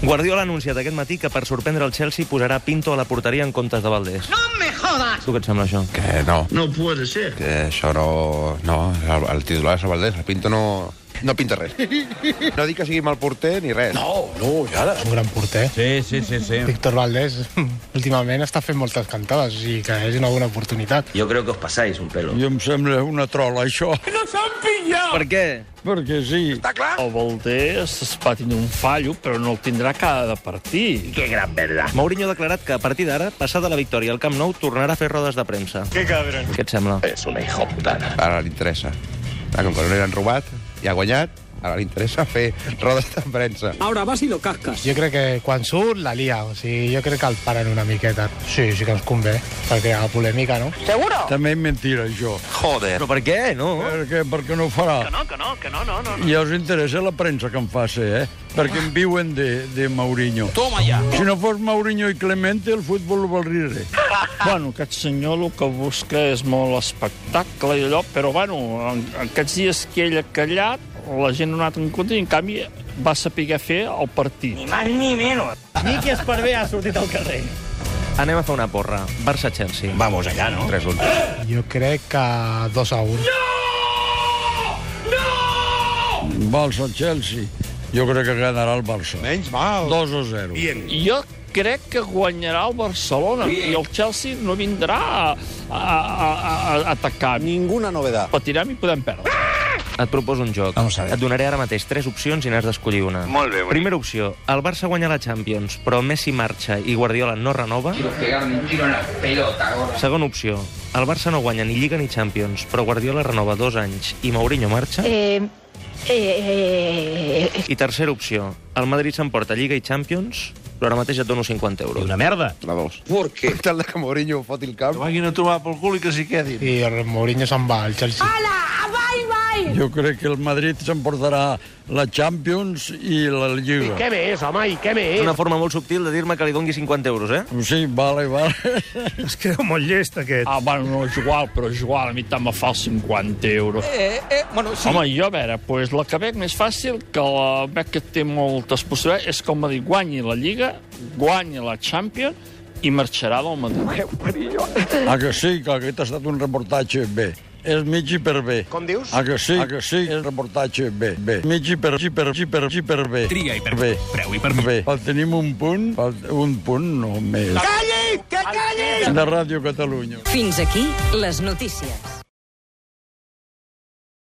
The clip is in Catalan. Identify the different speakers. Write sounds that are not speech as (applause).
Speaker 1: Guardiola ha anunciat aquest matí que per sorprendre el Chelsea posarà Pinto a la porteria en comptes de Valdés.
Speaker 2: ¡No me jodas!
Speaker 1: Tu què et sembla això?
Speaker 3: Que Eh, no,
Speaker 2: No puede ser.
Speaker 3: que això no... No, el, el titular és el Valdés, el Pinto no... No pinta res. No dic que sigui mal porter ni res. No.
Speaker 4: És un gran porter.
Speaker 5: Sí, sí, sí, sí.
Speaker 4: Víctor Valdés (laughs) últimament està fent moltes cantades, o sigui que és una bona oportunitat.
Speaker 6: Yo creo que os pasáis un pelo.
Speaker 7: I em sembla una trola, això,
Speaker 1: Per què?
Speaker 7: perquè sí.
Speaker 8: El Valdés va tindre un fallo, però no el tindrà cada partit.
Speaker 6: ¡Qué gran verdad!
Speaker 1: Ah. Mourinho ha declarat que a partir d'ara, passada la victòria al Camp Nou, tornarà a fer rodes de premsa. Que cabron. Què et sembla?
Speaker 6: Es una hijo putada.
Speaker 3: Ara li interessa. Ah, com que no li han robat i ha guanyat, ara li interessa fer rodes de premsa.
Speaker 4: Jo crec que quan surt la lia, o sigui, jo crec que el paren una miqueta. Sí, sí que ens convé, perquè hi ha polèmica, no?
Speaker 7: També és mentira, això.
Speaker 1: Però per què? No.
Speaker 7: Perquè, perquè no ho farà. Que no, que no, que no, no, no. I els interessa la premsa que em faci, eh? Perquè en viuen de, de Mourinho. Toma ja! Si no fos Mourinho i Clemente, el futbol ho valriria.
Speaker 8: Bueno, aquest senyor el que busca és molt espectacle i allò, però bueno, en, en aquests dies que ell ha callat, la gent no ha anat en compte i en canvi va saber fer el partit.
Speaker 1: Anem a fer una porra. Barça-Chelsea. Va.
Speaker 3: 3-1.
Speaker 4: Jo crec que 2 a 1.
Speaker 7: Vals al Chelsea. Jo crec que ganarà el Barça. Menys mal. 2 o 0. Bien.
Speaker 8: Jo crec que guanyarà el Barcelona i el Chelsea no vindrà a, a, a, a atacar. Ninguna novedat. Patirem i podem perdre.
Speaker 1: Et proposo un joc. Vamos a ver. Et donaré ara mateix tres opcions i n'has d'escollir una. Molt bé. Primera opció. El Barça guanya la Champions, però Messi marxa i Guardiola no renova. Quiero pegarme un tiro en la pelota, Segona opció. El Barça no guanya ni Lliga ni Champions, però Guardiola renova dos anys i Mourinho marxa.
Speaker 9: Eh, eh, eh, eh,
Speaker 1: I tercera opció, el Madrid s'emporta Lliga i Champions, però ara mateix et dono 50 euros. Una merda.
Speaker 3: La 2.
Speaker 6: ¿Por qué?
Speaker 3: Per tal de que Mourinho foti el camp,
Speaker 4: I el Mourinho se'n va al Chelsea.
Speaker 7: Jo crec que el Madrid s'emportarà la Champions i la Lliga. I
Speaker 1: És una forma molt subtil de dir-me que li dongui 50 euros, eh?
Speaker 7: Sí, vale, vale.
Speaker 8: Ah, bueno, no és igual, però és igual, a mi tant me fa els 50 euros. Eh, eh, bueno, sí. Home, jo, a veure, pues, la que veig més fàcil, que la veig que té moltes possibilitats, és com a dir, guanyi la Lliga, guanyi la Champions, i marxarà del Madrid.
Speaker 7: A que sí, que aquest ha estat un reportatge bé. És mig i per bé. Com dius? A que sí, a que sí, és reportatge bé, bé. Mig i per, i per, i per, i per bé. Triga i per bé. Preu i per bé. Pel tenim un punt, pel, un punt no més. Calli, que calli! De Ràdio Catalunya.
Speaker 10: Fins aquí les notícies.